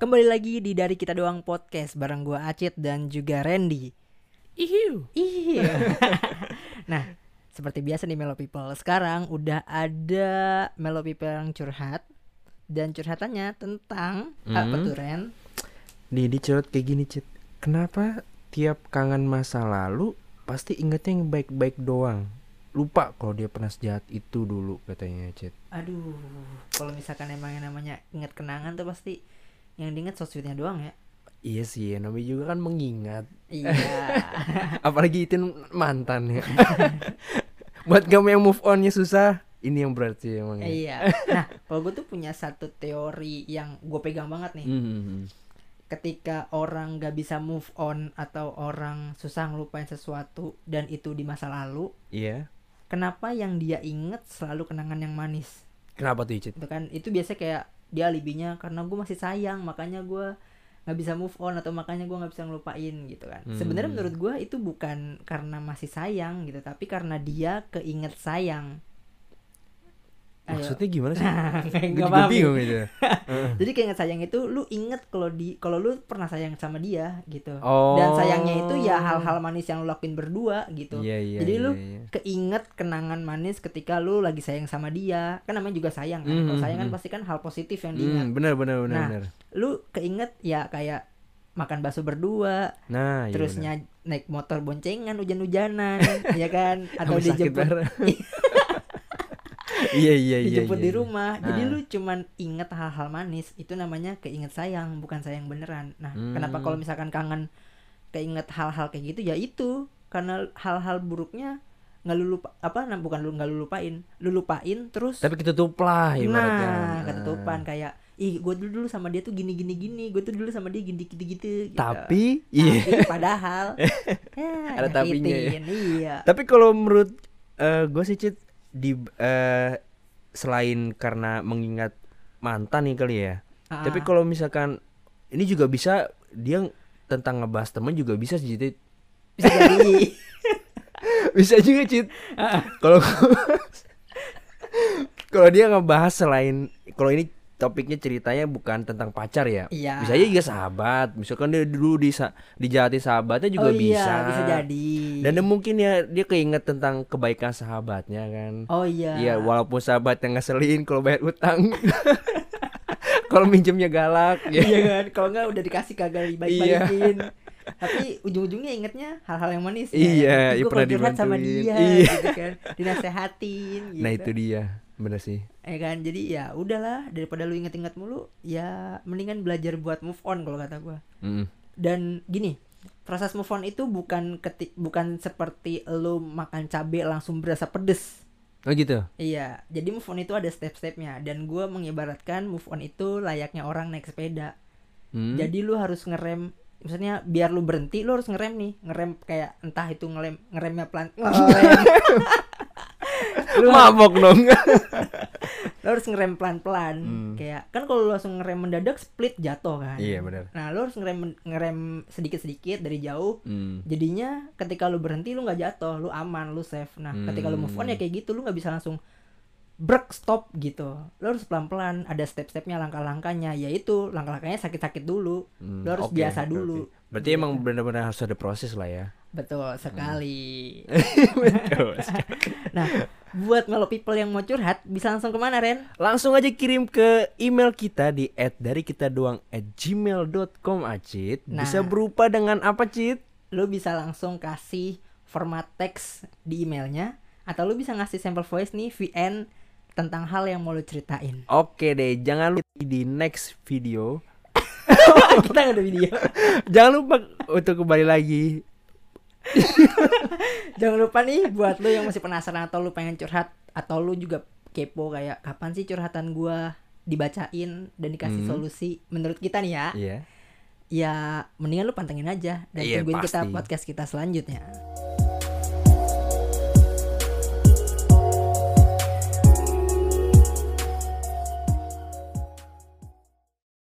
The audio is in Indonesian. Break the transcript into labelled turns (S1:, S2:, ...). S1: Kembali lagi di Dari Kita Doang Podcast bareng gua Acit dan juga Randy.
S2: Ihiu.
S1: Iya. nah, seperti biasa nih Melo People, sekarang udah ada Melo People yang curhat dan curhatannya tentang apa
S2: Hmm.
S1: tuh Ren?
S3: Didi curhat kayak gini Cit Kenapa tiap kangen masa lalu Pasti ingetnya yang baik-baik doang Lupa kalau dia pernah sejahat itu dulu katanya Cit
S1: Aduh, kalau misalkan emang yang namanya inget kenangan tuh pasti yang diinget sosmednya doang ya.
S3: Iya sih ya, namanya juga kan mengingat
S1: Iya.
S3: Apalagi itu mantan ya Buat kamu yang move onnya susah Ini yang berarti emang ya.
S1: Iya. Nah, kalau gue tuh punya satu teori yang gue pegang banget nih.
S3: Mhm.
S1: Ketika orang gak bisa move on atau orang susah ngelupain sesuatu dan itu di masa lalu,
S3: Iya
S1: kenapa yang dia inget selalu kenangan yang manis?
S3: Kenapa tuh Cit?
S1: Itu kan itu biasa kayak dia alibinya karena gue masih sayang, makanya gue nggak bisa move on atau makanya gue nggak bisa ngelupain gitu kan.
S3: Hmm.
S1: Sebenarnya menurut gue itu bukan karena masih sayang gitu, tapi karena dia keinget sayang. Ayo. Nah,
S3: Maksudnya gimana sih?
S1: Nggak
S3: Gue juga
S1: paham nih.
S3: bingung itu
S1: Jadi keinget sayang itu lu inget kalau di kalau lu pernah sayang sama dia gitu.
S3: Oh
S1: Dan sayangnya itu ya hal-hal manis yang lu lakuin berdua gitu.
S3: Iya iya
S1: Jadi lu-
S3: iya, iya.
S1: Keinget kenangan manis ketika lu lagi sayang sama dia. Kan namanya juga sayang kan.
S3: Mm,
S1: Kalau
S3: mm,
S1: sayang kan
S3: mm.
S1: pasti kan hal positif yang diingat.
S3: Hmm, benar benar benar
S1: Nah,
S3: benar.
S1: Lu keinget ya kayak makan bakso berdua,
S3: Nah, iya
S1: terus
S3: benar.
S1: nya- naik motor boncengan hujan-hujanan, ya kan? Atau
S3: Sampai sakit
S1: dijemput
S3: bareng. iya iya iya.
S1: dijemput
S3: iya,
S1: di
S3: iya.
S1: rumah. Jadi
S3: Ah.
S1: lu cuman inget hal-hal manis, itu namanya keinget sayang, bukan sayang beneran. Nah, kenapa
S3: Hmm.
S1: kalau misalkan kangen keinget hal-hal kayak gitu ya itu karena hal-hal buruknya nggak lu lupa apa nah, bukan lu nggak lu lupain, lu lupain terus
S3: Tapi ketutup lah ibaratnya. eh.
S1: nah ketutupan kayak ih gue dulu dulu sama dia tuh gini gini gini, gue tuh dulu sama dia gini gitu gitu. gitu.
S3: Tapi iya.
S1: Tapi padahal ya,
S3: Ada tapinya ya.
S1: nyakitin, Iya.
S3: Tapi kalau menurut gue sih Cit di eh, selain karena mengingat mantan nih kali ya. Tapi
S1: Ah,
S3: kalau misalkan ini juga bisa dia tentang ngebahas temen juga bisa sih, Cit.
S1: bisa jadi
S3: bisa juga cit kalau kalau dia ngebahas selain kalau ini topiknya ceritanya bukan tentang pacar ya
S1: Iya.
S3: bisa aja juga sahabat misalkan dia dulu di dijahati sahabatnya
S1: oh,
S3: juga bisa
S1: Iya, bisa jadi.
S3: dan dia mungkin ya dia keinget tentang kebaikan sahabatnya kan
S1: Oh iya.
S3: Iya, walaupun sahabat yang ngeselin kalau bayar utang kalau minjemnya galak ya
S1: Iya kan, kalau nggak udah dikasih kagak dibaik-baikin. Tapi ujung-ujungnya ingetnya hal-al yang manis. ya.
S3: Iya, iya,
S1: Gue
S3: pernah
S1: sama
S3: dibantuin.
S1: dia,
S3: Iya.
S1: gitu kan, dinasehatin. Gitu.
S3: nah itu dia bener sih
S1: Ya kan, jadi ya udahlah daripada lu inget-inget mulu, ya mendingan belajar buat move on kalau kata gua.
S3: Mm.
S1: Dan gini, proses move on itu bukan ketik bukan seperti lu makan cabe langsung berasa pedes.
S3: oh gitu
S1: Iya, jadi move on itu ada step-stepnya dan gua mengibaratkan move on itu layaknya orang naik sepeda.
S3: Hmm.
S1: Jadi lu harus ngerem Maksudnya biar lu berhenti lu harus ngerem nih Ngerem kayak entah itu ngelem ngeremnya pelan
S3: Oh.
S1: ngelem. lu, harus,
S3: mabok dong
S1: lu harus ngerem pelan-pelan
S3: Hmm.
S1: Kayak kan kalau lu langsung ngerem mendadak split jatuh kan
S3: iya bener
S1: Nah lu harus ngerem ngerem sedikit-sedikit dari jauh
S3: Hmm.
S1: Jadinya ketika lu berhenti lu nggak jatuh Lu aman lu safe Nah ketika lu move on ya
S3: Hmm.
S1: kayak gitu lu nggak bisa langsung Brek stop gitu Lu harus pelan-pelan ada step-stepnya langkah-langkahnya Yaitu langkah-langkahnya sakit-sakit dulu
S3: Hmm,
S1: Lu harus
S3: oke,
S1: biasa
S3: oke,
S1: dulu.
S3: oke. Berarti
S1: Gitu.
S3: emang benar-benar harus ada proses lah ya.
S1: Betul sekali
S3: Hmm. Betul.
S1: Nah, buat melo people yang mau curhat bisa langsung kemana Ren?
S3: Langsung aja kirim ke email kita di @darikitadoang@gmail.com acit. Bisa
S1: Nah.
S3: berupa dengan apa cit?
S1: Lu bisa langsung kasih format teks di emailnya atau lu bisa ngasih sampel voice nih VN tentang hal yang mau lu ceritain.
S3: Oke deh, jangan lupa di next video. Oh.
S1: Kita nggak ada video.
S3: jangan lupa untuk kembali lagi.
S1: Jangan lupa nih buat lu yang masih penasaran atau lu pengen curhat atau lu juga kepo kayak kapan sih curhatan gua dibacain dan dikasih
S3: Hmm.
S1: solusi menurut kita nih ya.
S3: Iya.
S1: Ya mendingan lu pantengin aja dan
S3: Iya,
S1: tungguin kita
S3: pasti.
S1: podcast kita selanjutnya.